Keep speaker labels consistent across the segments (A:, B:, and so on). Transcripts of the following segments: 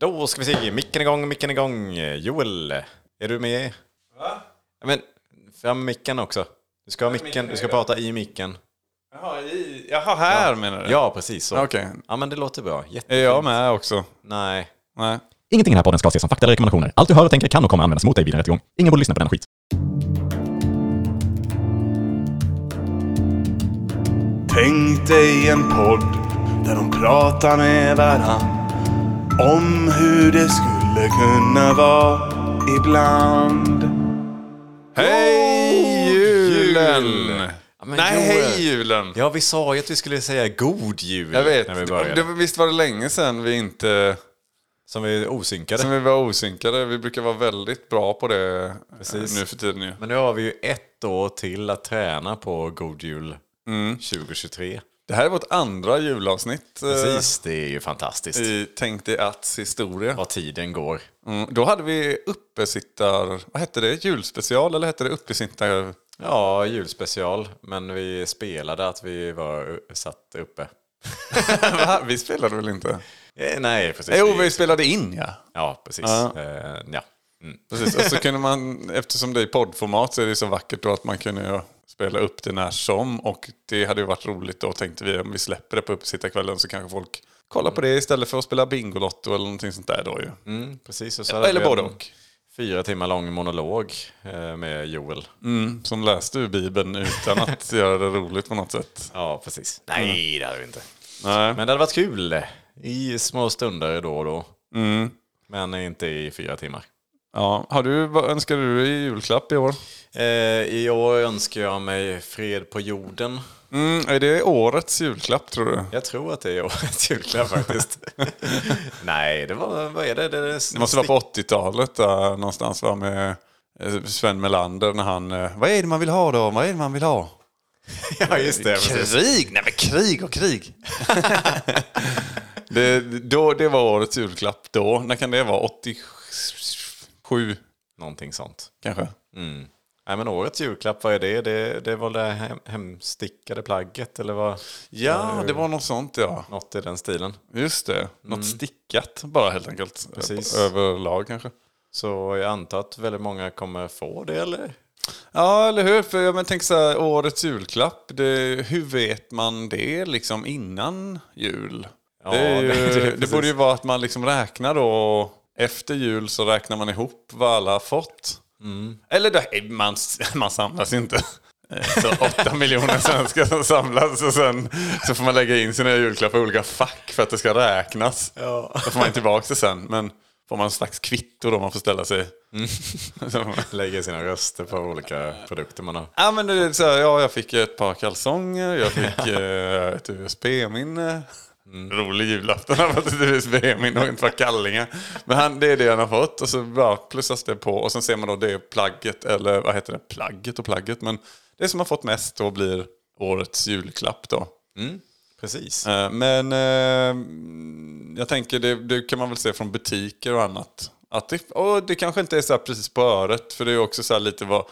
A: Då ska vi se, micken igång, micken igång. Joel, är du med?
B: Va?
A: Ja, Men fram med micken också. Du ska ha micken, du ska prata i micken.
B: Jaha, i, jaha här menar du?
A: Ja, precis så.
B: Okej.
A: Ja, men det låter bra. Jätte...
B: Är jag med också?
A: Nej.
B: Nej.
C: Ingenting i den här podden ska ses som fakta eller rekommendationer. Allt du hör och tänker kan och kommer användas mot dig vid en rättegång. Ingen borde lyssna på den skit.
D: Tänk dig en podd där de pratar med varann om hur det skulle kunna vara ibland.
B: Hej julen!
A: Ja, men
B: Nej,
A: Joel.
B: hej julen!
A: Ja, vi sa ju att vi skulle säga god jul
B: Jag vet,
A: när vi
B: det,
A: började.
B: det- visst var det länge sedan vi inte...
A: Som vi osynkade.
B: Sen vi var osynkade. Vi brukar vara väldigt bra på det eh,
A: Precis.
B: nu för tiden ju.
A: Men nu har vi ju ett år till att träna på god jul
B: Mm.
A: 2023.
B: Det här är vårt andra julavsnitt eh,
A: Precis, det är ju fantastiskt.
B: i Tänk dig atts historia.
A: Vad tiden går.
B: Mm. Då hade vi uppesittar... Vad hette det? Julspecial eller hette det uppesittar...
A: Ja, julspecial. Men vi spelade att vi var satt uppe.
B: Va? vi spelade väl inte?
A: Eh, Nej, precis.
B: Jo, vi spelade in ja.
A: Ja, precis.
B: Ja.
A: Eh, ja. Mm.
B: Precis, och så kunde man, eftersom det är poddformat så är det så vackert då att man kunde ju spela upp det när som. Och det hade ju varit roligt då tänkte vi om vi släpper det på uppesittarkvällen så kanske folk kollar på det istället för att spela Bingolotto eller någonting sånt där då ju.
A: Mm, precis. Och så hade
B: Eller
A: vi en
B: både och.
A: Fyra timmar lång monolog eh, med Joel.
B: Mm, som läste ur Bibeln utan att göra det roligt på något sätt.
A: Ja, precis.
B: Mm.
A: Nej, det hade vi inte.
B: Nej.
A: Men det hade varit kul i små stunder då och då.
B: Mm.
A: Men inte i fyra timmar.
B: Ja, har du, vad önskar du i julklapp i år?
A: Eh, I år önskar jag mig fred på jorden.
B: Mm, är det årets julklapp tror du?
A: Jag tror att det är årets julklapp faktiskt. Nej, det var... Vad är det? Det, är
B: Det måste vara på 80-talet där någonstans var med eh, Sven Melander när han, eh, vad är det man vill ha då? Vad är det man vill ha?
A: Ja, just det. precis.
B: Krig? Nej men krig och krig. det, då, det var årets julklapp då. När kan det vara? 87
A: Någonting sånt.
B: kanske?
A: Mm. Nej, men årets julklapp, vad är det? Det, det var det här hem, hemstickade plagget eller vad?
B: Ja, det var något sånt ja. Mm.
A: Något i den stilen.
B: Eh, Just det. Något stickat bara helt enkelt.
A: Precis.
B: Överlag kanske.
A: Så jag antar att väldigt många kommer få det eller?
B: Ja, eller hur? För jag men, tänk så här, årets julklapp, det, hur vet man det liksom innan jul?
A: Ja,
B: det, är ju,
A: det- det är
B: det,
A: precis.
B: borde ju vara att man liksom räknar då, efter jul så räknar man ihop vad alla har fått.
A: Mm.
B: Eller det, man, man samlas inte. Eh, Så åtta miljoner svenskar som samlas och sen så får man lägga in sina julklappar i olika fack för att det ska räknas.
A: Ja.
B: Då får man tillbaka det sen. Men får man en slags kvitto då man får ställa sig.
A: Mm.
B: Så-
A: Lägger sina röster på olika produkter man har.
B: Ja men det är så här, ja jag fick ett par kalsonger, jag fick eh, ett USB-minne. Rolig julafton, han har fått ett USB-minne och ett par kallingar. Men han, det är det han har fått och så bara plussas det på och sen ser man då det plagget, eller vad heter det, plagget och plagget. Men det som har fått mest då blir årets julklapp då.
A: Precis.
B: Eh, Men eh, jag tänker, det, det kan man väl se från butiker och annat. Att det, och det kanske inte är så här precis på öret, för det är också så här lite vad...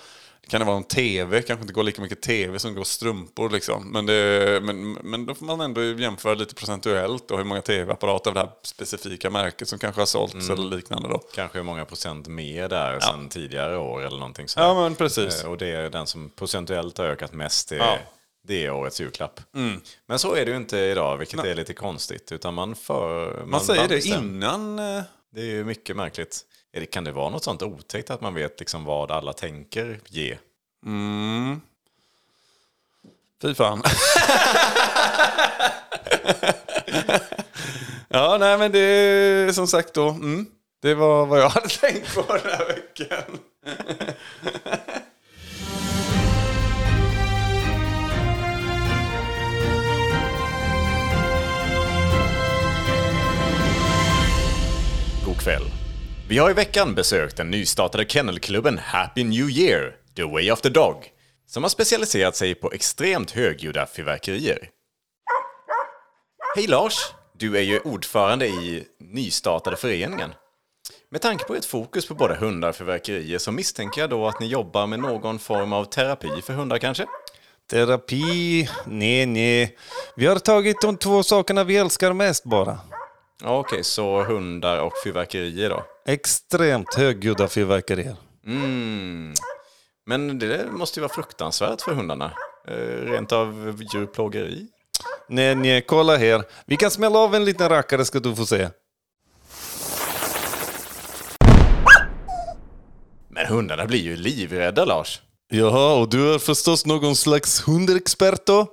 B: Kan det vara en tv? Kanske inte går lika mycket tv som går strumpor liksom. Men, det, men, men då får man ändå jämföra lite procentuellt och hur många tv-apparater av det här specifika märket som kanske har
A: Mm.
B: sålts eller liknande då.
A: Kanske hur många procent mer där sen tidigare år eller någonting sånt.
B: Ja men precis.
A: Eh, Och det är den som procentuellt har ökat mest. Det är,
B: Ja. Mm.
A: det är årets julklapp. Men så är det ju inte idag, vilket är lite konstigt. Utan man för...
B: Man säger det
A: bestämmer.
B: innan... eh,
A: Det är ju mycket märkligt. Är det- Kan det vara något sånt otäckt att man vet liksom vad alla tänker ge?
B: Mm. Fy fan. ja, nej men det är som sagt då. Mm, det var vad jag hade tänkt på den här veckan.
A: God kväll. Vi har i veckan besökt den nystartade kennelklubben Happy New Year, The Way of the Dog, som har specialiserat sig på extremt högljudda fyrverkerier. Hej Lars! Du är ju ordförande i nystartade föreningen. Med tanke på ert fokus på både hundar och fyrverkerier så misstänker jag då att ni jobbar med någon form av terapi för hundar kanske?
E: Terapi? Nej, nej. Vi har tagit de två sakerna vi älskar mest bara.
A: Ja, okej, så hundar och fyrverkerier då.
E: Extremt högljudda fyrverkerier.
A: Men det där måste ju vara fruktansvärt för hundarna. Eh, Rent av djurplågeri.
E: Nej, nej, kolla här. Vi kan smälla av en liten rackare ska du få se.
A: Men hundarna blir ju livrädda, Lars.
E: Jaha, och du är förstås någon slags hundexpert då?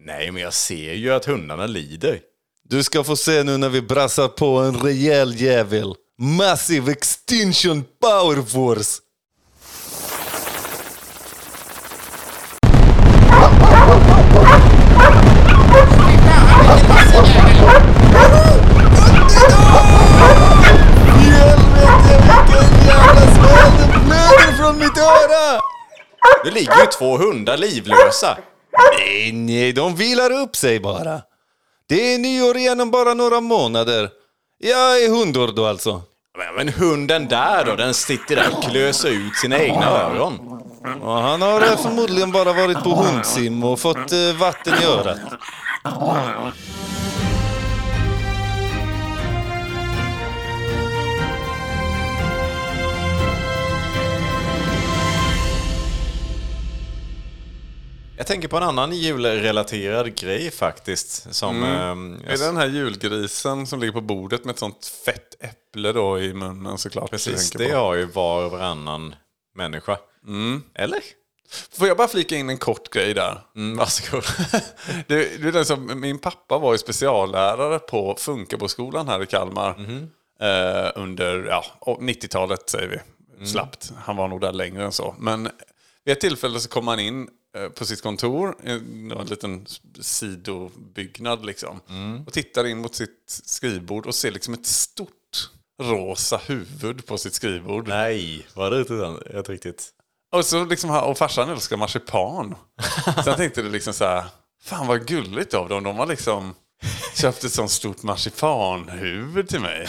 A: Nej, men jag ser ju att hundarna lider.
E: Du ska få se nu när vi brassar på en rejäl jävel. Massive Extinction Power Force! Helvete vilken jävla smäll! Det blöder från mitt öra!
A: Nu ligger ju två hundar livlösa.
E: Nej, nej, de vilar upp sig bara. Det är nyår igen om bara några månader. Jag är hundår då alltså.
A: Men, men hunden där då, den sitter där och klöser ut sina egna öron.
E: Och han har eh, förmodligen bara varit på hundsim och fått eh, vatten i örat.
A: Jag tänker på en annan julrelaterad grej faktiskt. Som, ehm, jag
B: Mm. Är det den här julgrisen som ligger på bordet med ett sånt fett äpple då i munnen såklart?
A: Precis,
B: Jag tänker
A: det
B: på. Mm.
A: har ju var och varannan människa. Eller?
B: Får jag bara flika in en kort grej där?
A: Mm, varsågod.
B: det, det är den som, min pappa var ju speciallärare på Funkaboskolan här i Kalmar. Eh, under ja, och 90-talet säger vi. Slappt. Han var nog där längre än så. Men vid ett tillfälle så kom han in eh, på sitt kontor, eh, det var en liten s- sidobyggnad liksom. Och tittar in mot sitt skrivbord och ser liksom ett stort rosa huvud på sitt skrivbord.
A: Nej, var det inte den? Inte riktigt.
B: Och, så liksom, han- och farsan älskar marsipan. Så jag tänkte det liksom så här, fan vad gulligt av dem. De har liksom köpt ett sånt stort marsipanhuvud till mig.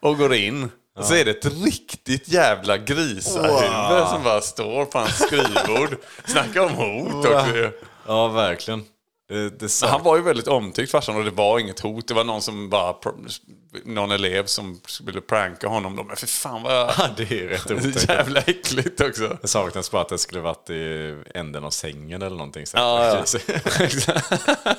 B: Och går in. Och så är det ett riktigt jävla grisahuvud som bara står på hans skrivbord. Snacka om hot också ju.
A: Ja, verkligen. Det, det sa...
B: Så Han var ju väldigt omtyckt farsan och det var inget hot. Det var någon som bara, pr- någon elev som ville pranka honom. då. Men för fan vad
A: det är rätt otäckt.
B: jävla äckligt också.
A: Det saknas bara att det skulle varit i änden av sängen eller någonting. Så.
B: Ja, ja.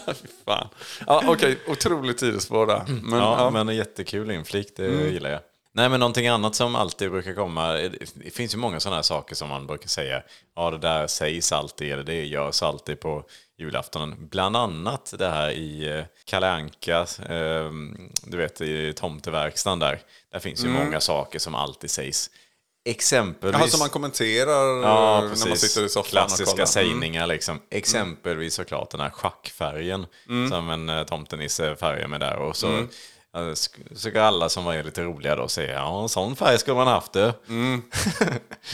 B: Fy fan. Ja, Okej, otroligt tidsspår där. Men,
A: Mm. Ja,
B: ja, Mm.
A: men en jättekul inflik, det gillar jag. Nej, men någonting annat som alltid brukar komma, eh, det finns ju många sådana här saker som man brukar säga, ja det där sägs alltid, eller det görs alltid på julaftonen. Bland annat det här i eh, Kalle Anka, eh, du vet i tomteverkstan där, där finns ju många saker som alltid sägs. Exempelvis...
B: Mm. Jaha, som alltså, man kommenterar
A: Ja,
B: eh, när man
A: precis.
B: sitter i soffan och
A: Klassiska
B: kollar. Mm.
A: sägningar liksom. Exempelvis såklart den här schackfärgen
B: Mm.
A: som en eh, tomtenisse färgar med där. Och så, eh, sk- så ska alla som var lite roliga då säga ja, en sån färg skulle man haft det.
B: Mm.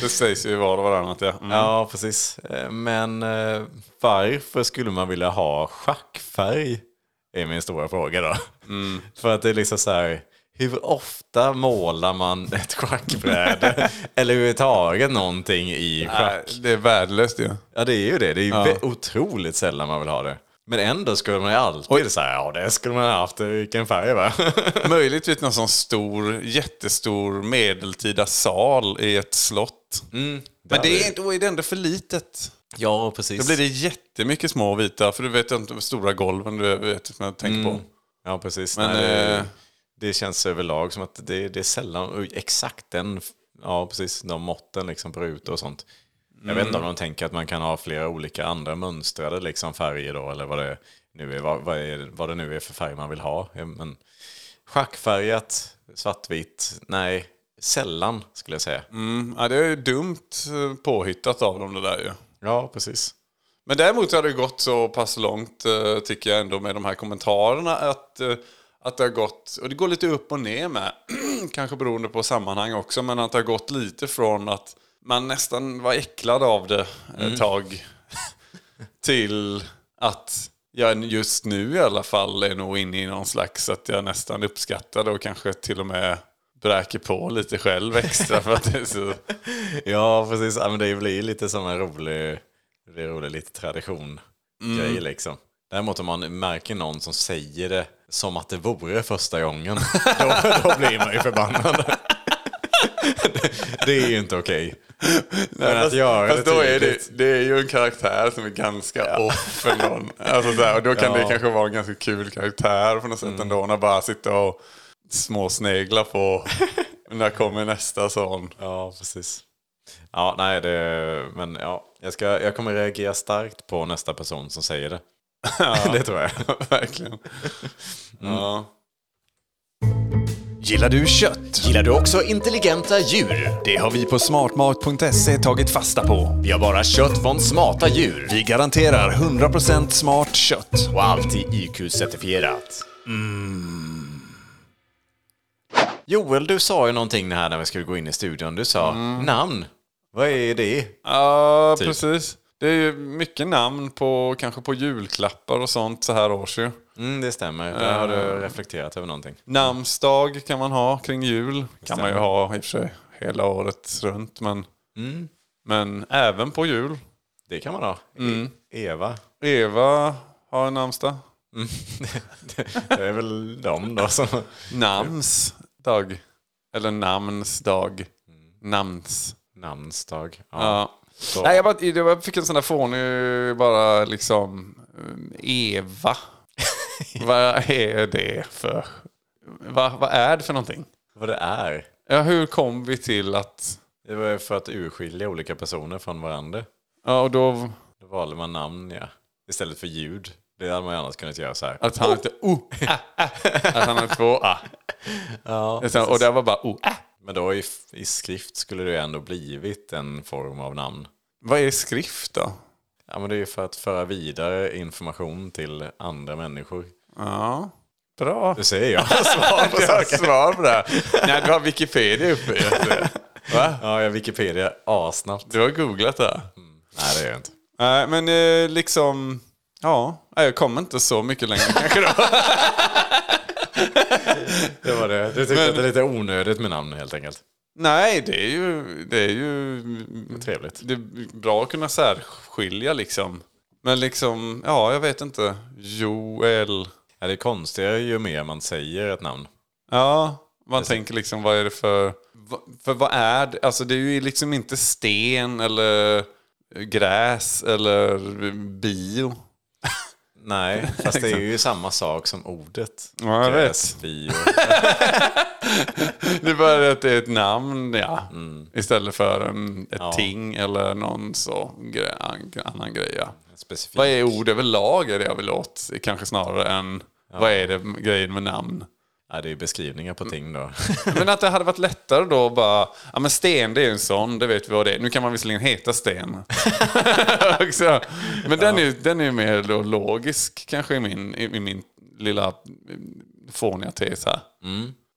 B: Det sägs ju var och varannat, ja. Mm.
A: Ja, precis. Eh, Men eh, varför skulle man vilja ha schackfärg? Är min stora fråga då.
B: Mm.
A: För att det är liksom så här, hur ofta målar man ett schackbräde? eller överhuvudtaget någonting i schack?
B: Nej, det är värdelöst ju.
A: Ja, det är ju det. Det är ju vä- otroligt sällan man vill ha det. Men ändå skulle man ju alltid säga, ja det skulle man ha haft, vilken färg va?
B: Möjligtvis någon sån stor, jättestor medeltida sal i ett slott. Men
A: Mm. där
B: det
A: är-
B: är, då är det ändå för litet.
A: ja, precis.
B: Då blir det jättemycket små vita, för du vet inte de stora golven du vet som jag tänker
A: Mm.
B: på.
A: Ja, precis.
B: Men,
A: Nej, det,
B: eh,
A: det känns överlag som att det, det är sällan, oj, exakt den, f- ja precis, de måtten liksom på rutor och sånt. Jag vet inte om de tänker att man kan ha flera olika andra mönstrade liksom färger då, eller vad det nu är, vad, vad, är, vad det nu är för färg man vill ha. Eh, Men schackfärgat, svartvitt, nej, sällan skulle jag säga.
B: Mm, ja, det är ju dumt eh, påhittat av dem det där ju.
A: Ja, precis.
B: Men däremot har det gått så pass långt eh, tycker jag ändå med de här kommentarerna att, eh, att det har gått, och det går lite upp och ner med, kanske beroende på sammanhang också, men att det har gått lite från att man nästan var äcklad av det ett tag till att jag just nu i alla fall är nog inne i någon slags att jag nästan uppskattar det och kanske till och med bräker på lite själv extra för att det är så
A: Ja, precis.
B: Mm.
A: Ja, men det blir lite som en rolig, det är rolig lite tradition grej liksom. Däremot om man märker någon som säger det som att det vore första gången, då, då blir man ju förbannad. det, det är ju inte okej. Men att göra
B: Fast Alltså, då är
A: tydligt-
B: det, det är ju en karaktär som är ganska off ändå. Alltså så här, och då kan det
A: Ja.
B: kanske vara en ganska kul karaktär på något sätt ändå. När bara sitter och småsneglar på när kommer nästa sån.
A: Ja, precis. Ja, nej, det, men ja, jag, ska, jag kommer reagera starkt på nästa person som säger det. det tror jag.
B: Verkligen. Ja.
E: Gillar du kött?
A: Gillar du också intelligenta djur?
E: Det har vi på smartmat.se tagit fasta på.
A: Vi har bara kött från smarta djur.
E: Vi garanterar 100% smart kött.
A: Och alltid IQ-certifierat. Mm. Joel, du sa ju någonting här när vi skulle gå in i studion. Du sa namn. Vad är det?
B: Ja, precis. Det är ju mycket namn på kanske på julklappar och sånt så här års ju.
A: Mm, det stämmer. Där har du reflekterat över någonting.
B: Namnsdag kan man ha kring jul. Kan man ju ha i och för sig hela året runt. Men, men även på jul.
A: Mm, Det kan man ha. E- Eva.
B: Eva har en namnsdag.
A: Det är väl de då som...
B: Namnsdag. Eller namnsdag. Namns.
A: Namnsdag.
B: Ja. Nej, jag, bara, jag fick en sån där fånig bara liksom um, Eva. vad är det för... Vad, vad är det för någonting?
A: Vad det är.
B: Ja, hur kom vi till att...
A: Det var ju för att urskilja olika personer från varandra.
B: Ja, och då...
A: Då valde man namn, ja. Istället för ljud. Det hade man ju annars kunnat göra så här.
B: Att han inte... Oh, ah, ah. Att han hade två ah.
A: Ja,
B: Sen- Och det var bara oh, ah.
A: Men då i, i skrift skulle det ju ändå blivit en form av namn.
B: Vad är skrift då?
A: Ja, men det är ju för att föra vidare information till andra människor.
B: Ja, bra.
A: Det säger jag. Svar på
B: Jag har
A: saker.
B: svar på det här. Nej, du har Wikipedia uppe. vet du. Va?
A: Ja, jag Wikipedia asnabbt. Mm.
B: Du har googlat det här.
A: Nej, det är jag inte.
B: Nej, men eh, liksom... Ja, Nej, jag kommer inte så mycket längre kanske då.
A: Det var det. Du tyckte att det är lite onödigt med namn helt enkelt.
B: Nej, det är ju... Det är ju
A: Trevligt.
B: det är bra att kunna särskilja liksom. Men liksom, ja, jag vet inte. Joel.
A: Ja, det är konstigare ju mer man säger ett namn.
B: Ja, man tänker liksom vad är det för... vad- För vad är det? Alltså det är ju liksom inte sten eller gräs eller bio.
A: Nej, fast det är ju samma sak som ordet. Typ
B: Ja, jag vet.
A: vi och...
B: Det är bara att det är ett namn, ja. Istället för en, ett ting eller någon så gre, an- annan grej, ja.
A: Specifikt.
B: Vad är ord överlag är det jag vill åt, kanske snarare än vad är det med- grejen med namn.
A: Ja, det är ju beskrivningar
B: Mm.
A: på ting då.
B: Men att det hade varit lättare då att bara, ja men sten det är ju en sån, det vet vi vad det är. Nu kan man visserligen heta sten. Också. Men den är ju den är ju mer då logisk kanske i min, i, i min lilla eh, fåniga tes här.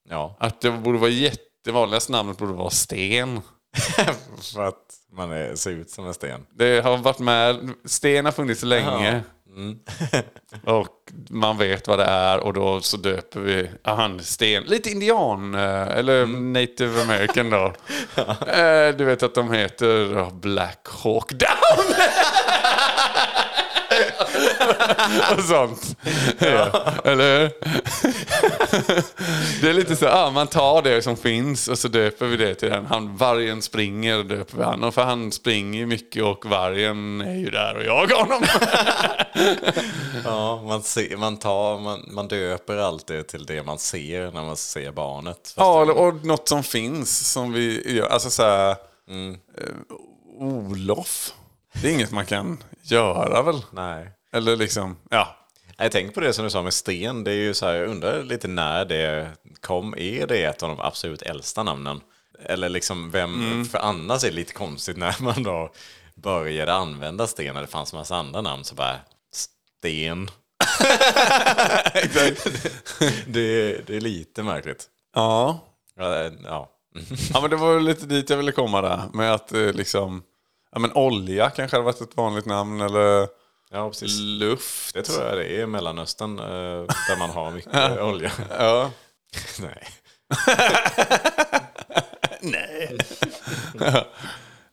A: Ja,
B: Att det borde vara jätte, det vanligaste namnet borde vara sten.
A: för att man är, ser ut som en sten.
B: Det har varit med, sten har funnits länge. och man vet vad det är och då så döper vi ah, han sten. Lite indian, eh, eller native american då. Eh, Du vet att de heter ah, Black Hawk Down! och sånt. Ja. Eller hur? Det är lite så, ah, man tar det som finns och så döper vi det till den. Han, vargen springer döper vi han. Och för han springer ju mycket och vargen är ju där och jagar honom.
A: Ja, man, ser, man, tar, man, man döper alltid till det man ser när man ser barnet.
B: ja, eller- och något som finns som vi gör. Alltså så här, eh, Olof. Det är inget man kan göra väl?
A: Nej.
B: Eller liksom, ja.
A: Jag tänker på det som du sa med sten. Det är ju så här, jag undrar lite när det kom. Är det ett av de absolut äldsta namnen? Eller liksom vem, för annars är det lite konstigt när man då började använda sten. när Det fanns massa andra namn så bara, sten. det, det är lite märkligt.
B: Ja.
A: Ja, eh, ja.
B: Ja men det var väl lite dit jag ville komma där. Med att eh, liksom, ja men olja kanske hade varit ett vanligt namn eller
A: ja precis.
B: luft.
A: Det tror jag det är i Mellanöstern eh, där man har mycket olja.
B: Ja.
A: Nej.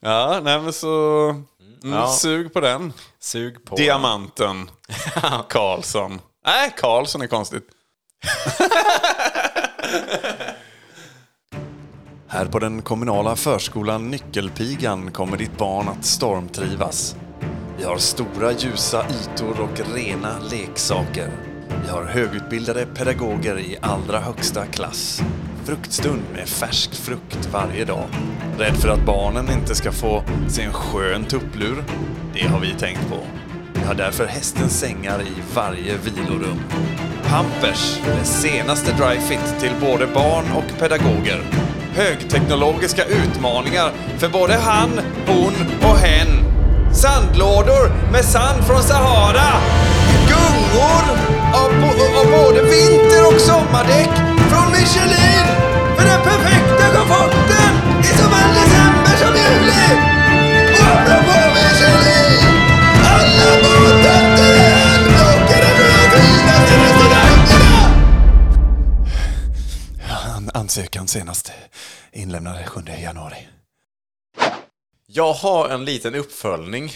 B: Ja, nej men så... Mm, Sug på den.
A: Sug på.
B: Diamanten Karlsson. Nej, Karlsson är konstigt. Här på den kommunala förskolan Nyckelpigan kommer ditt barn att stormtrivas. Vi har stora ljusa ytor och rena leksaker. Vi har högutbildade pedagoger i allra högsta klass. Fruktstund med färsk frukt varje dag. Rädd för att barnen inte ska få sig en skön tupplur? Det har vi tänkt på. Vi har därför hästens sängar i varje vilorum. Pampers, det senaste dryfit till både barn och pedagoger. Högteknologiska utmaningar för både han, hon och hen. Sandlådor med sand från Sahara. Gungor av, bo- av både vinter och sommardäck från Michelin. För den perfekta komforten i såväl december som juli. Och apropå Michelin. Alla båtätter är handplockade från de finaste restaurangerna. An- ansökan senast inlämnad 7 januari.
A: Jag har en liten uppföljning.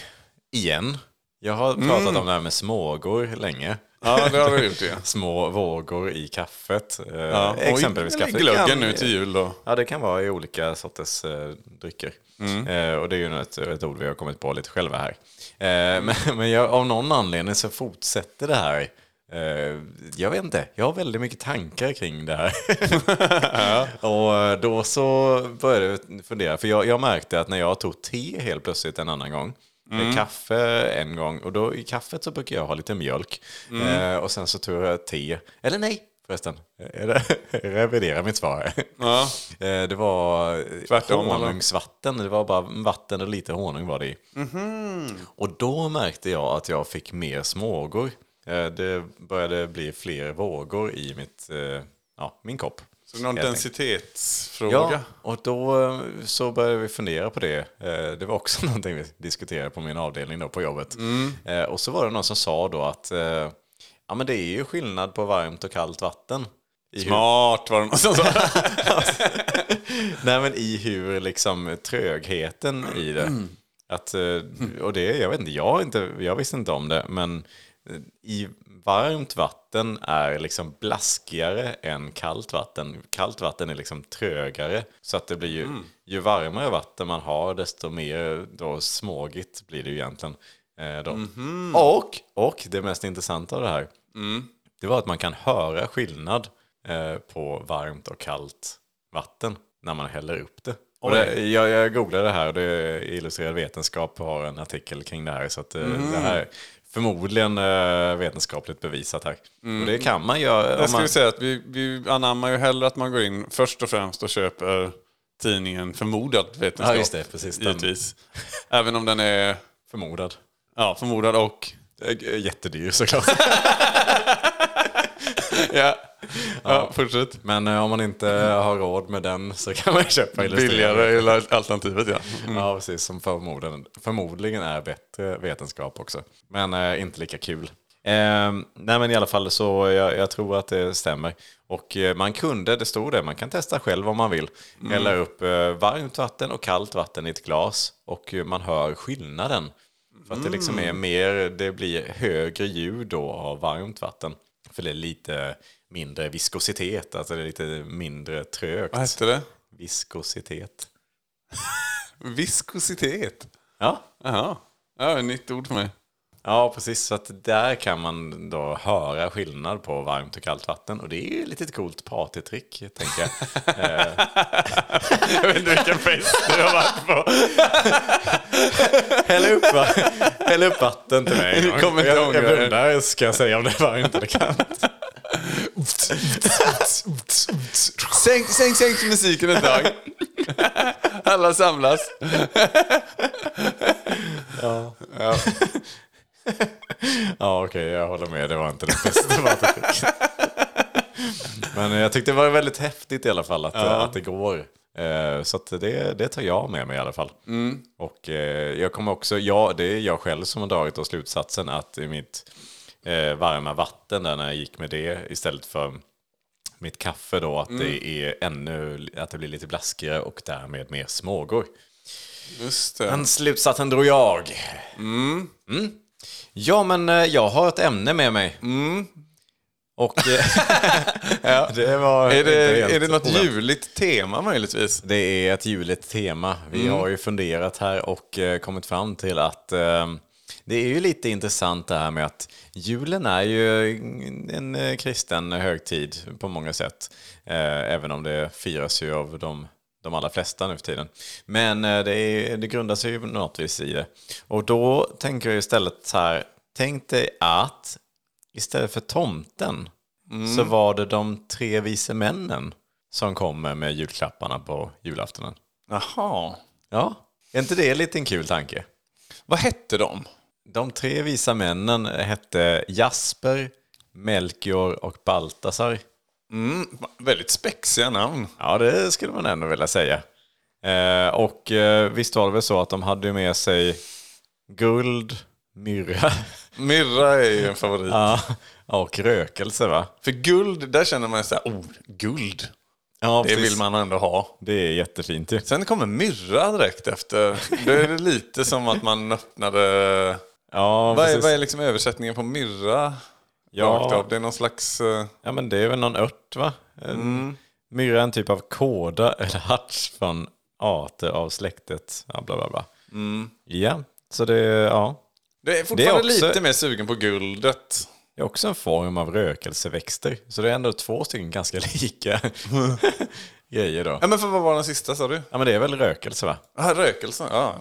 A: Igen. Jag har
B: Mm.
A: pratat om det här med smågor länge.
B: Ja, det har du gjort ja.
A: Små vågor i kaffet. Eh,
B: ja.
A: exempelvis
B: Oj,
A: kaffe.
B: Glöggen
A: Kan-
B: nu till jul då.
A: Ja, det kan vara i olika sorters eh, drycker. Eh, och det är ju ett, ett ord vi har kommit på lite själva här. Eh, men men jag, av någon anledning så fortsätter det här. Eh, jag vet inte, jag har väldigt mycket tankar kring det här. och eh, då så började jag fundera, för jag, jag märkte att när jag tog te helt plötsligt en annan gång, eh, Kaffe en gång och då i kaffet så brukar jag ha lite mjölk. Eh, och sen så tog jag te. Eller nej, förresten. Är det- Revidera mitt svar.
B: Ja.
A: Eh, Det var
B: Tvärtom, eller?
A: honungsvatten. Det var bara vatten och lite honung var det i.
B: Mhm.
A: Och då märkte jag att jag fick mer smågor. Eh, Det började bli fler vågor i mitt, eh, ja, min kopp.
B: Så någon
A: Helt
B: densitetsfråga.
A: Ja, och då eh, så började vi fundera på det. Eh, Det var också någonting vi diskuterade på min avdelning då på jobbet.
B: Mm.
A: Eh, Och så var det någon som sa då att eh, ja, men det är ju skillnad på varmt och kallt vatten. I hur-
B: Smart var det någon som sa.
A: Nej men i hur liksom trögheten i det. Att, eh, och det, jag vet inte, jag, har inte, jag visste inte om det, men eh, i varmt vatten är liksom blaskigare än kallt vatten. Kallt vatten är liksom trögare. Så att det blir ju, ju varmare vatten man har, desto mer då smågigt blir det ju egentligen. Eh, då. Och, och det mest intressanta av det här, det var att man kan höra skillnad eh, på varmt och kallt vatten när man häller upp det. Och det jag, jag googlade det här och det Illustrerad Vetenskap har en artikel kring det här. Så att, eh,
B: Mhm.
A: det här är förmodligen eh, vetenskapligt bevisat här. Och det kan man göra.
B: Mm. Jag
A: Om
B: ska
A: man,
B: ju säga att vi, vi anammar ju hellre att man går in först och främst och köper tidningen Förmodad vetenskap.
A: Ja, just det, precis. Den-
B: Givetvis. Även om den är
A: förmodad.
B: ja, förmodad och...
A: Eh, g- Jättedyr såklart.
B: Ja, ja fortsätt.
A: Men eh, om man inte har råd med den så kan man köpa Illustrerad
B: Billigare eller alternativet ja. mm.
A: Ja, precis. Som förmodligen, förmodligen är bättre vetenskap också. Men eh, inte lika kul. Eh, nej, men i alla fall så jag, jag tror att det stämmer. Och eh, man kunde, det stod det, man kan testa själv om man vill.
B: Mm.
A: Hälla upp eh, varmt vatten och kallt vatten i ett glas och eh, man hör skillnaden. För att det liksom
B: Mm.
A: är mer, det blir högre ljud då av varmt vatten. För det är lite mindre viskositet, alltså det är lite mindre
B: Vad
A: trögt.
B: hette det?
A: Viskositet.
B: Viskositet.
A: Ja,
B: Jaha. Ja, ett nytt ord för mig.
A: Ja, precis. Så att där kan man då höra skillnad på varmt och kallt vatten. Och det är ju ett litet coolt partytrick, tänker jag. Eh.
B: Jag vet inte vilken fest du har varit på.
A: Häll upp, va- häll upp vatten till mig.
B: Du kommer inte
A: jag,
B: ångra
A: jag
B: dig.
A: blundar, ska jag säga om det är varmt eller kallt.
B: Sänk, sänk, sänk musiken ett tag. Alla samlas.
A: Ja, okej, jag håller med. Det var inte det bästa partytricket. Men eh, jag tyckte det var väldigt häftigt i alla fall att, att det går. Eh, Så att det, det tar jag med mig i alla fall. Och eh, jag kommer också, ja, det är jag själv som har dragit då slutsatsen att i mitt eh, varma vatten där när jag gick med det istället för mitt kaffe då att det är ännu, att det blir lite blaskigare och därmed mer smågor.
B: Just det.
A: Den slutsatsen drog jag. Mm. Ja, men eh, jag har ett ämne med mig. Och... eh, ja, det var
B: Är
A: inte
B: det,
A: helt
B: är det något
A: oväntat.
B: juligt tema möjligtvis? Mm.
A: Det är ett juligt tema. Vi har ju funderat här och eh, kommit fram till att eh, det är ju lite intressant det här med att julen är ju en eh, kristen högtid på många sätt. Eh, även om det firas ju av de, de allra flesta nu för tiden. Men eh, det, är, det grundar sig ju på något vis i det. Och då tänker jag istället så här, tänk dig att istället för tomten
B: Mm.
A: så var det de tre vise männen som kommer med julklapparna på julaftonen.
B: Jaha.
A: Ja, är inte det en liten kul tanke?
B: Vad hette de?
A: De tre visa männen hette Jasper, Melchior och Baltasar.
B: Mm, va- väldigt spexiga namn.
A: Ja, det skulle man ändå vilja säga. Eh, och eh, visst var det väl så att de hade ju med sig guld, myrra
B: Mirra är ju en favorit.
A: ja, och rökelse va?
B: För guld, där känner man så här, oh, guld.
A: Ja,
B: Det vill man ändå ha.
A: Det är jättefint ju.
B: Sen kommer myrra direkt efter. Då är det lite som att man öppnade...
A: Ja,
B: Vad är,
A: precis.
B: vad är liksom översättningen på myrra? Rakt
A: ja,
B: av? Det är någon slags... eh,
A: Ja men det är väl någon ört va? Mm. Myrra är en typ av kåda eller harts från arter av släktet. Ja, bla bla bla. Mm. Ja, så det, ja.
B: Det är fortfarande
A: också-
B: lite mer sugen på guldet.
A: det är också en form av rökelseväxter. Så det är ändå två stycken ganska lika grejer då.
B: Ja, men för vad var den sista sa du?
A: Ja men det är väl rökelse va?
B: Ah, rökelsen, ja.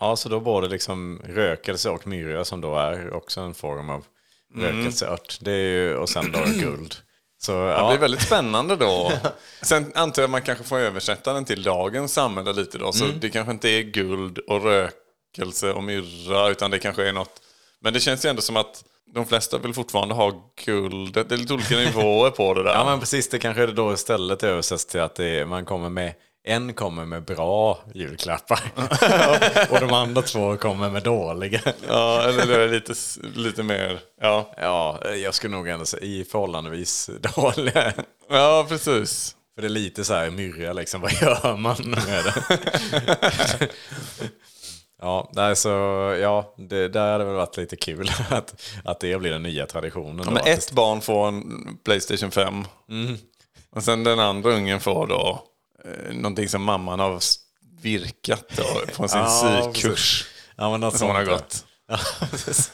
A: Ja, så då både liksom rökelse och myrra som då är också en form av Mm. rökelseört. Det är ju, och sen då guld. Så
B: Det
A: ja,
B: blir väldigt spännande då. Sen antar jag man kanske får översätta den till dagens samhälle lite då. Så det kanske inte är guld och rökelse och myrra utan det kanske är något. Men det känns ju ändå som att de flesta vill fortfarande ha guld. Det är lite olika nivåer på det där.
A: Ja men precis, det kanske det då istället översätts till att det är, man kommer med en kommer med bra julklappar och de andra två kommer med dåliga.
B: Ja, eller det är lite, lite mer. Ja.
A: Ja, jag skulle nog ändå säga i förhållandevis dåliga.
B: ja, precis.
A: För det är lite så här myrra liksom, vad gör man med det? Ja, nej, så ja, det där hade väl varit lite kul att, att det blir den nya traditionen. då,
B: Men
A: att det-
B: ett barn får en Playstation 5. Och sen den andra ungen får då eh, någonting som mamman har virkat då, på sin
A: Ja,
B: sykurs.
A: ja, men något
B: Som hon har
A: sånt där.
B: gått.
A: Ja, precis.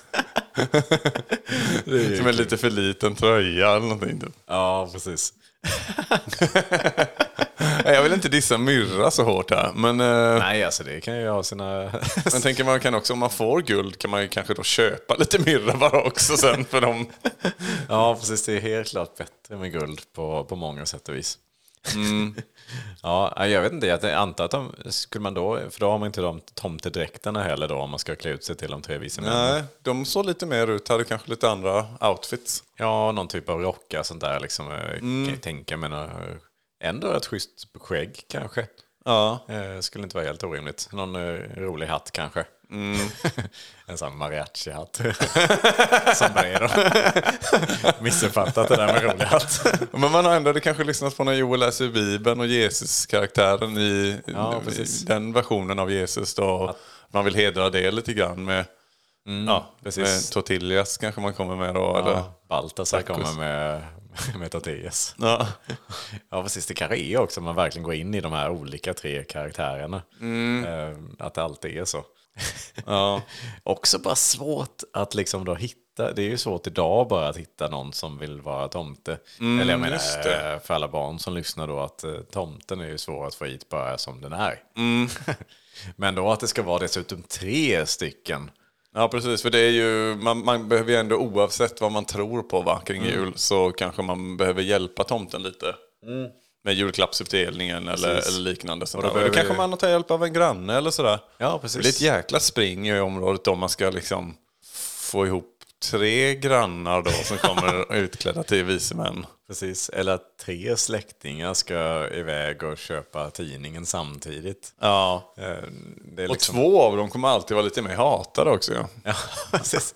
B: Som en lite för liten tröja eller någonting. typ.
A: ja, precis.
B: Nej, Jag vill inte dissa Myrra så hårt här. Men eh,
A: Nej, alltså det kan ju ha sina...
B: man tänker man kan också, om man får guld kan man ju kanske då köpa lite Myrra bara också sen för dem.
A: ja, precis. Det är helt klart bättre med guld på, på många sätt och vis.
B: Mm.
A: ja, jag vet inte. Jag antar att de, skulle man då, för då har man inte de tomtedräkterna heller då om man ska klä ut sig till de tre vise männen.
B: Nej, de såg lite mer ut, hade kanske lite andra outfits.
A: Ja, någon typ av rockar sånt där liksom. eh,
B: Mm.
A: Kan jag tänka mig. några- Ändå ett schysst skägg kanske.
B: Ja.
A: Eh, skulle inte vara helt orimligt. Någon eh, rolig hatt kanske. en sån mariachi-hatt. Sombrero. Missuppfattat det där med rolig hatt.
B: Men man har ändå det kanske lyssnat på när Joel läser Bibeln och Jesus-karaktären i,
A: Ja,
B: i
A: precis.
B: den versionen av Jesus. Då. Man vill hedra det lite grann med, ja,
A: precis.
B: med tortillas kanske man kommer med då. Eller?
A: Ja, Baltasar kommer med, med Tatias.
B: Ja.
A: Ja, precis. Det kanske är också om man verkligen går in i de här olika tre karaktärerna. Eh, Att det alltid är så.
B: Ja.
A: Också bara svårt att liksom då hitta, det är ju svårt idag bara att hitta någon som vill vara tomte. Eller jag menar,
B: Mm, just det.
A: eh, för alla barn som lyssnar då att eh, tomten är ju svår att få hit bara som den är.
B: Mm.
A: Men då att det ska vara dessutom tre stycken.
B: ja, precis. För det är ju, man, man behöver ju ändå oavsett vad man tror på va, kring jul så kanske man behöver hjälpa tomten lite. Med julklappsutdelningen eller,
A: Precis.
B: eller liknande. Mm. Och då,
A: behöver-
B: kanske man tar hjälp av en granne eller sådär.
A: Ja,
B: Det
A: precis.
B: blir ett jäkla spring i området om man ska liksom få ihop tre grannar då som kommer utklädda till vise män.
A: Precis, eller att tre släktingar ska iväg och köpa tidningen samtidigt.
B: Ja.
A: Eh, Det är
B: Och
A: liksom...
B: två av dem kommer alltid vara lite mer hatade också. Ja.
A: Ja, precis.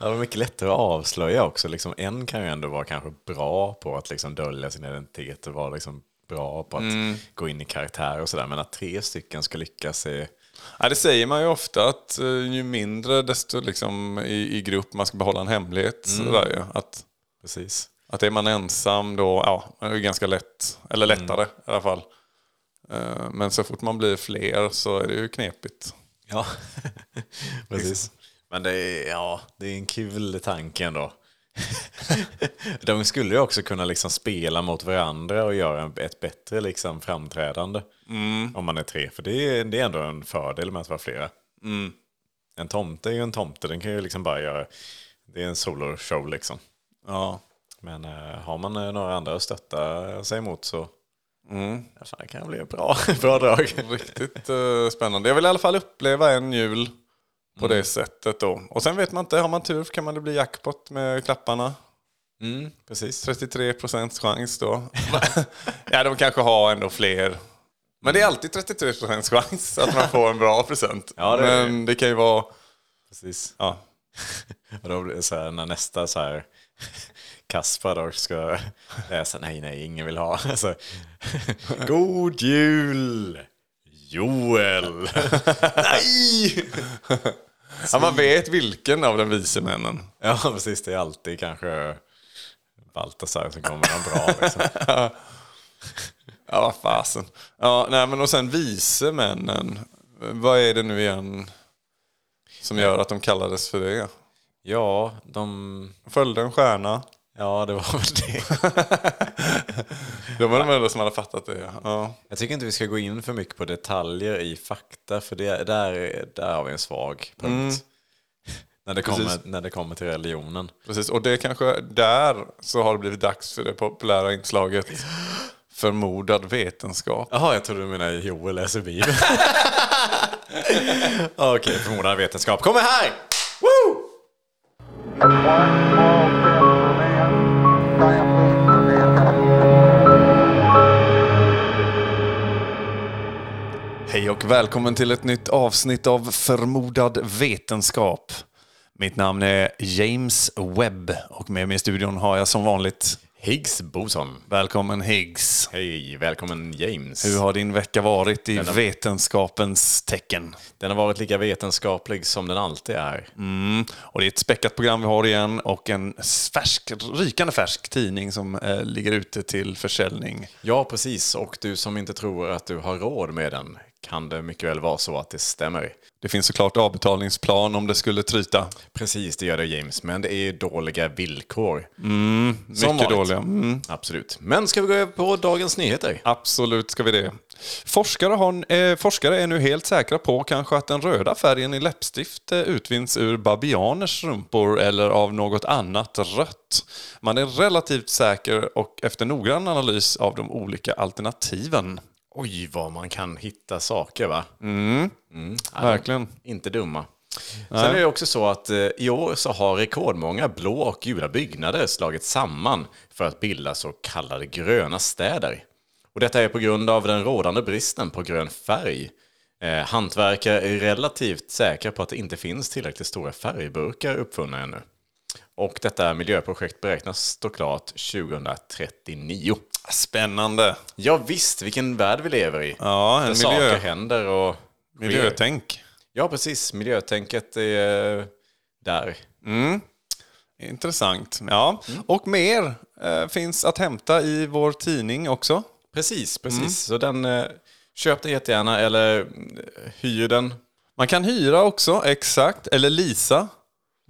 A: Ja, det är mycket lättare att avslöja också. Liksom, en kan ju ändå vara kanske bra på att liksom dölja sin identitet och vara liksom bra på att gå in i karaktär och sådär. Men att tre stycken ska lyckas är...
B: Ja, det säger man ju ofta att eh, ju mindre desto liksom i, i grupp man ska behålla en hemlighet. Sådär, ju. att,
A: Precis.
B: att är man ensam då, ja, det är ju ganska lätt. Eller lättare i alla fall. Eh, Men så fort man blir fler så är det ju knepigt.
A: Ja, precis. Men det är, ja, det är en kul tanke ändå. De skulle ju också kunna liksom spela mot varandra och göra en- ett bättre liksom framträdande om man är tre. För det är, det är ändå en fördel med att vara flera. En tomte är ju en tomte, den kan ju liksom bara göra... Det är en soloshow liksom.
B: Ja.
A: Men eh, har man eh, några andra att stötta sig emot så... Ja, fan, det kan bli ett bra, bra drag.
B: Riktigt eh, spännande. Jag vill i alla fall uppleva en jul på det
A: Mm.
B: sättet då. Och sen vet man inte, har man tur kan man det bli jackpot med klapparna.
A: Mm, precis.
B: 33 procents chans då. ja, de kanske har ändå fler. Men det är alltid 33 procents chans att man får en bra present.
A: Ja, det är det.
B: Men det kan ju vara...
A: precis.
B: Ja,
A: Och då blir det så här, när nästa så här Kaspar då ska läsa, nej nej, ingen vill ha. Så, God jul Joel! nej!
B: ja, man vet vilken av den vise männen.
A: Ja precis, det är alltid kanske Baltasar som kommer med något bra. Liksom.
B: Ja, vad fasen. Ja, nej, men och sen vise männen. Vad är det nu igen som gör att de kallades för det?
A: Ja, de...
B: Följde en stjärna.
A: Ja, det var väl det.
B: De var de enda som hade fattat det. Ja.
A: Jag tycker inte vi ska gå in för mycket på detaljer i fakta, för det, där, där har vi en svag punkt. När, det kommer,
B: Precis.
A: när det kommer till religionen.
B: Precis, och det kanske där så har det blivit dags för det populära inslaget förmodad vetenskap.
A: Jaha, jag trodde du menade Joel läser Bibeln. Okej, förmodad vetenskap. Kommer här! Woo!
F: One small step for man, giant leap for mankind.
B: Hej och välkommen till ett nytt avsnitt av förmodad vetenskap. Mitt namn är James Webb och med mig i studion har jag som vanligt
A: Higgs Boson.
B: välkommen Higgs.
A: Hej, välkommen James.
B: Hur har din vecka varit i
A: har-
B: vetenskapens tecken?
A: Den har varit lika vetenskaplig som den alltid är.
B: Och det är ett späckat program vi har igen och en färsk, rykande färsk tidning som eh, ligger ute till försäljning.
A: Ja, precis. Och du som inte tror att du har råd med den kan det mycket väl vara så att det stämmer.
B: Det finns såklart avbetalningsplan om det skulle tryta.
A: Precis, det gör det James. Men det är dåliga villkor. Som
B: Mycket
A: vanligt.
B: dåliga. Mm.
A: Absolut. Men ska vi gå över på dagens nyheter?
B: Absolut ska vi det. Forskare, har, eh, forskare är nu helt säkra på kanske att den röda färgen i läppstift eh, utvinns ur babianers rumpor eller av något annat rött. Man är relativt säker och efter noggrann analys av de olika alternativen.
A: Oj, vad man kan hitta saker, va? Mm.
B: Verkligen.
A: Inte dumma. Sen är det också så att eh, i år så har rekordmånga blå och gula byggnader slagits samman för att bilda så kallade gröna städer. Och detta är på grund av den rådande bristen på grön färg. Eh, hantverkare är relativt säkra på att det inte finns tillräckligt stora färgburkar uppfunna ännu. Och detta miljöprojekt beräknas stå klart 2039.
B: Spännande.
A: Ja visst, vilken värld vi lever i.
B: Ja,
A: Där
B: en
A: saker
B: miljö,
A: händer och sker.
B: miljötänk.
A: Ja, precis. Miljötänket är eh, där.
B: Intressant. Ja. Och mer eh, finns att hämta i vår tidning också.
A: Precis, precis.
B: Mm.
A: Så den eh, köp den jättegärna eller mm, hyr den.
B: Man kan hyra också, exakt. Eller leasa.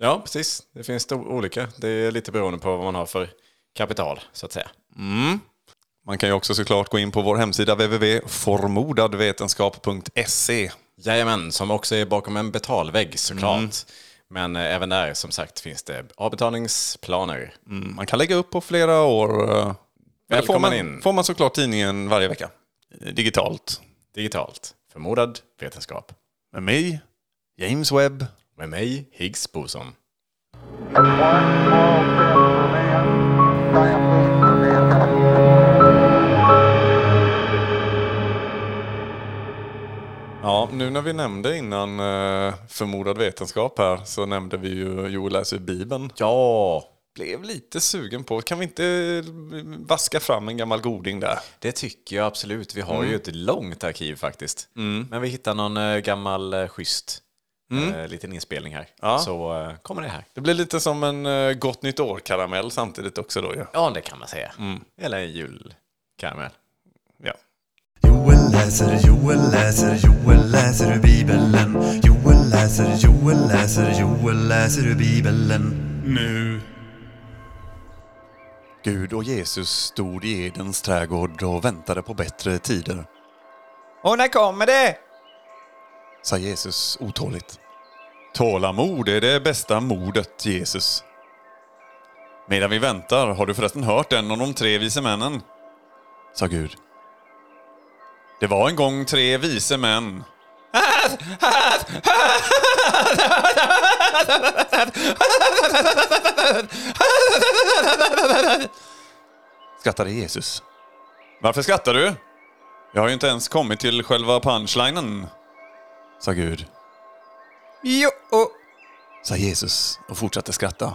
A: Ja, precis. Det finns to- olika. Det är lite beroende på vad man har för kapital, så att säga.
B: Man kan ju också såklart gå in på vår hemsida www.formodadvetenskap.se.
A: Jajamän, som också är bakom en betalvägg såklart.
B: Mm.
A: Men eh, även där, som sagt, finns det avbetalningsplaner.
B: Man kan lägga upp på flera år. eh, men får
A: Välkommen
B: man,
A: in.
B: får man såklart tidningen varje vecka. eh, Digitalt.
A: Digitalt. Förmodad vetenskap.
B: Med mig, James Webb.
A: Med mig, Higgs Boson.
F: One small step for man, giant leap for mankind.
B: Ja, nu när vi nämnde innan eh, förmodad vetenskap här så nämnde vi ju Joel läser Bibeln.
A: Ja,
B: blev lite sugen på, kan vi inte eh, vaska fram en gammal goding där?
A: Det tycker jag absolut. Vi har
B: Mm.
A: ju ett långt arkiv faktiskt. Men vi hittar någon eh, gammal eh, schysst
B: Mm.
A: eh, liten inspelning här. Så eh, kommer det här.
B: Det blir lite som en eh, gott nytt år-karamell samtidigt också då ju.
A: Ja, det kan man säga.
B: Mm.
A: Eller en julkaramell.
B: Ja.
G: Joel läser, Joel läser, Joel läser ur Bibeln. Joel läser, Joel läser, Joel läser ur Bibeln.
D: Nu.
B: Gud och Jesus stod i Edens trädgård och väntade på bättre tider,
E: Och när kommer det?
B: sa Jesus otåligt. Tålamod är det bästa modet, Jesus. Medan vi väntar, har du förresten hört en av de tre vise männen? sa Gud. Det var en gång tre vise män. Skrattade Jesus. Varför skrattar du? Jag har ju inte ens kommit till själva punchlinen, sa Gud.
E: Jo, och
B: sa Jesus och fortsatte skratta.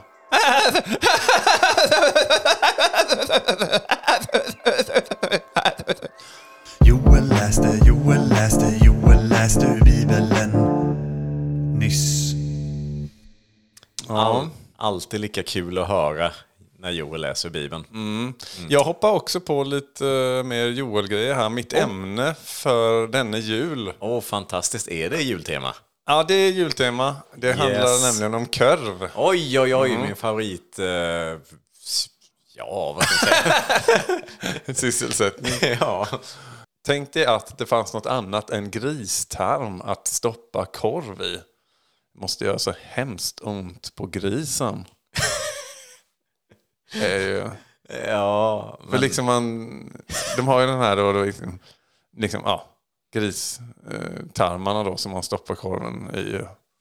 G: Joel läste, Joel läste, Joel läste ur Bibeln. Nyss.
A: Ja. Alltid lika kul att höra när Joel läser Bibeln.
B: Mm. Jag hoppar också på lite eh, mer Joel-grejer här. Mitt
A: Oh.
B: ämne för denne jul.
A: Åh, fantastiskt. Är det jultema?
B: Ja, det är jultema. Det handlar
A: Yes.
B: nämligen om körv.
A: Oj, oj, oj,
B: Mm.
A: min favorit... Eh, s- ja, vad ska jag
B: Sysselsättning.
A: säga? ja.
B: Tänk dig att det fanns något annat än gristarm att stoppa korv i. Det måste göra så hemskt ont på grisen. Det är ju...
A: ja men,
B: För liksom man, de har ju den här då, då liksom, liksom, ja, gristarmarna då som man stoppar korven i.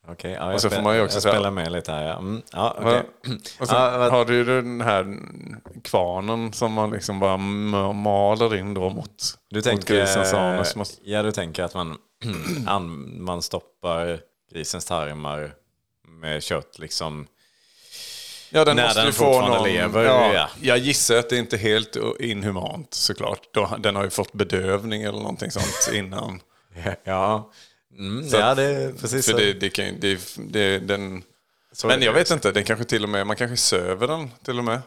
A: okej, ja, jag
B: och så får
A: spel-
B: man ju också
A: jag
B: säga-
A: spelar med lite här. Ja. Mm, ja,
B: Va?
A: okej.
B: Och sen
A: Ja, vad-
B: har du ju den här kvarnen som man liksom bara m- maler in då mot,
A: Du
B: mot
A: tänker, eh,
B: grisens anus. Man-
A: ja, du tänker att man, an, man stoppar grisens tarmar med kött liksom.
B: Ja, den
A: när
B: måste
A: den
B: ju få
A: fortfarande
B: någon,
A: lever,
B: Ja,
A: ja.
B: Jag gissar att det inte är helt inhumant såklart. Då- Den har ju fått bedövning eller någonting sånt innan.
A: Ja, mm, ja det är precis
B: Så
A: så.
B: det, det kan ju- det, det, den...
A: så är
B: Men
A: det
B: jag
A: ju.
B: vet inte, den kanske till och med, man kanske söver den till och med.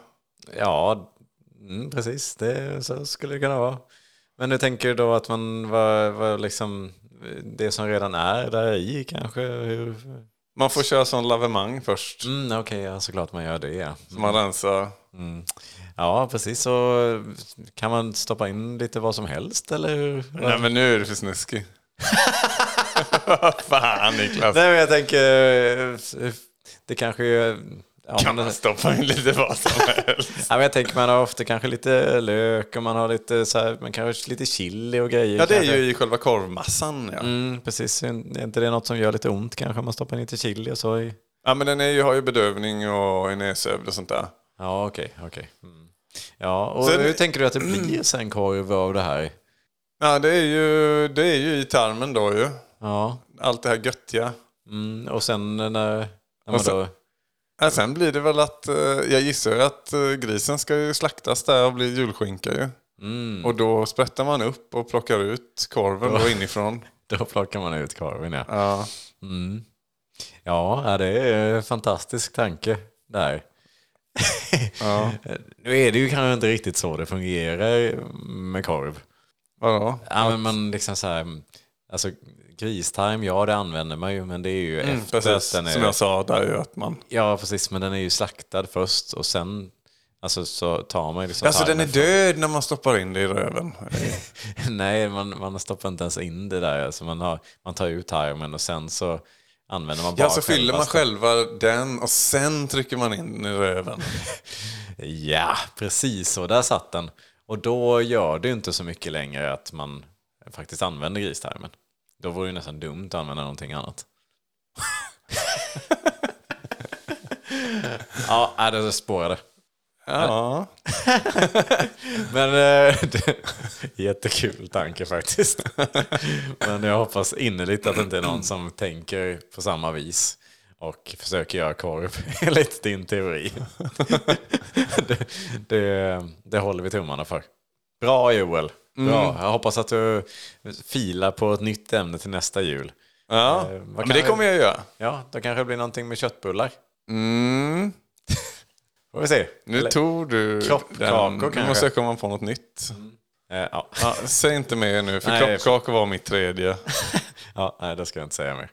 A: Ja, mm, precis. Det, så skulle det kunna vara. Men du tänker då att man var, var liksom det som redan är där i kanske? Hur?
B: Man får köra sån lavemang först.
A: Mm, Okej, ja, såklart man gör det. Ja.
B: Så man rensar.
A: Mm. ja, precis. Så kan man stoppa in lite vad som helst eller hur?
B: Nej men nu är det för snuskig. Fan Niklas.
A: Nej, men jag tänker, eh, det kanske är... Ja,
B: Kan
A: men-
B: man stoppa in lite vad som helst?
A: ja, men jag tänker man har ofta kanske lite lök och man har lite så här, man kanske lite chili och grejer.
B: Ja det är
A: kanske.
B: ju i själva korvmassan ja.
A: Mm, precis. Är inte det något som gör lite ont kanske? Man stoppar in lite chili och så i...
B: Ja men den är ju, har ju bedövning och är nedsövd och sånt där.
A: Ja, okej, okej. Mm. Ja, och
B: Sen-
A: hur tänker du att det blir sen korv av det här?
B: Ja det är ju, det är ju i tarmen då ju.
A: Ja,
B: Allt det här göttiga.
A: mm, och sen när, när man
B: sen-
A: då...
B: Ja, sen blir det väl att, eh, jag gissar ju att eh, grisen ska ju slaktas där och bli julskinka ju. Och då sprättar man upp och plockar ut korven då inifrån.
A: Då plockar man ut korven, ja.
B: Ja.
A: Mm. Ja, ja, det är en fantastisk tanke där.
B: Ja.
A: Nu är det ju kanske inte riktigt så det fungerar med korv.
B: Vadå?
A: Ja, men man liksom så här, alltså gristarm, ja det använder man ju, men det är ju efter
B: Mm, Precis,
A: att den är...
B: som jag sa där ju att man...
A: Ja, precis. Men den är ju slaktad först och sen alltså, så tar man ju liksom
B: Alltså den är
A: tarmen
B: död när man stoppar in det i röven.
A: från- Nej, man, man stoppar inte ens in det där. Alltså, man, har, man tar ut tarmen och sen så använder man bara
B: Ja, så fyller man
A: själva-
B: själva den och sen trycker man in den i röven.
A: Ja, precis så. Där satt den. Och då gör det ju inte så mycket längre att man faktiskt använder gristarmen. Då vore det ju nästan dumt att använda någonting annat. ja, nej, det spårade.
B: Ja.
A: Men eh, det, jättekul tanke faktiskt. Men jag hoppas innerligt att det inte är någon som tänker på samma vis. och försöker göra korv enligt din teori. det, det, det håller vi tummarna för. Bra Joel,
B: Mm.
A: bra. Jag hoppas att du filar på ett nytt ämne till nästa jul.
B: Ja,
A: Eh, vad
B: men
A: kan
B: det
A: vi-
B: kommer jag göra.
A: Ja, då kanske det blir någonting med köttbullar.
B: Mm.
A: Får vi se.
B: Nu tog du
A: Kroppkakor
B: den. Nu
A: kanske.
B: måste jag komma på något nytt.
A: Eh, ja.
B: Ja, säg inte mer nu, för
A: Nej.
B: kroppkakor var mitt tredje.
A: Ja, nej, det ska jag inte säga mer.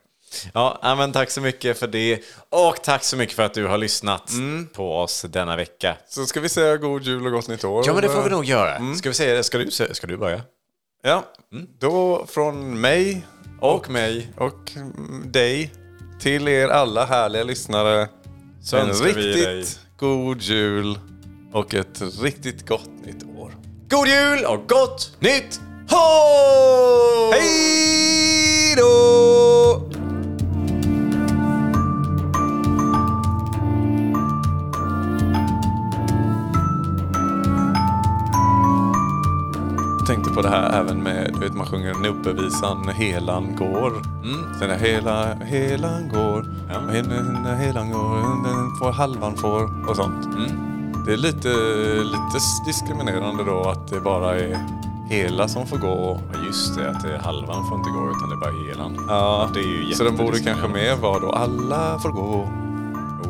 A: Ja, ja, men tack så mycket för det. Och tack så mycket för att du har lyssnat på oss denna vecka.
B: Mm. Så Mm. ska vi säga god jul och gott nytt år.
A: Ja, men det får vi nog göra. Ska vi säga det? Ska du, sä- ska du börja?
B: Ja,
A: Mm.
B: då från mig
A: Och mig.
B: och mm, dig till er alla härliga lyssnare.
A: Så
B: en
A: önskar vi
B: riktigt
A: dig-
B: god jul och ett riktigt gott nytt år.
A: God jul och gott nytt år!
B: Hej då! Jag tänkte på det här även med, du vet man sjunger nubbevisan Helan går. Mm. Sen är hela, helan går,
A: Ja.
B: helan, helan går, den får halvan får och sånt. Det är lite, lite diskriminerande då att det bara är hela som får gå
A: Ja, Just det, att det är halvan får inte gå utan det är bara helan.
B: Ja,
A: det är ju
B: så den borde
A: jättediskriminerande.
B: kanske mer vara då alla får gå.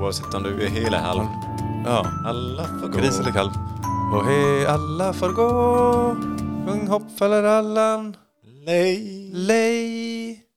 A: Oavsett om du är hela halv.
B: Ja,
A: Alla får gå.
B: gris eller kalv. Och hej, alla får gå. Sjung hopp faller allan. Lej. Lej.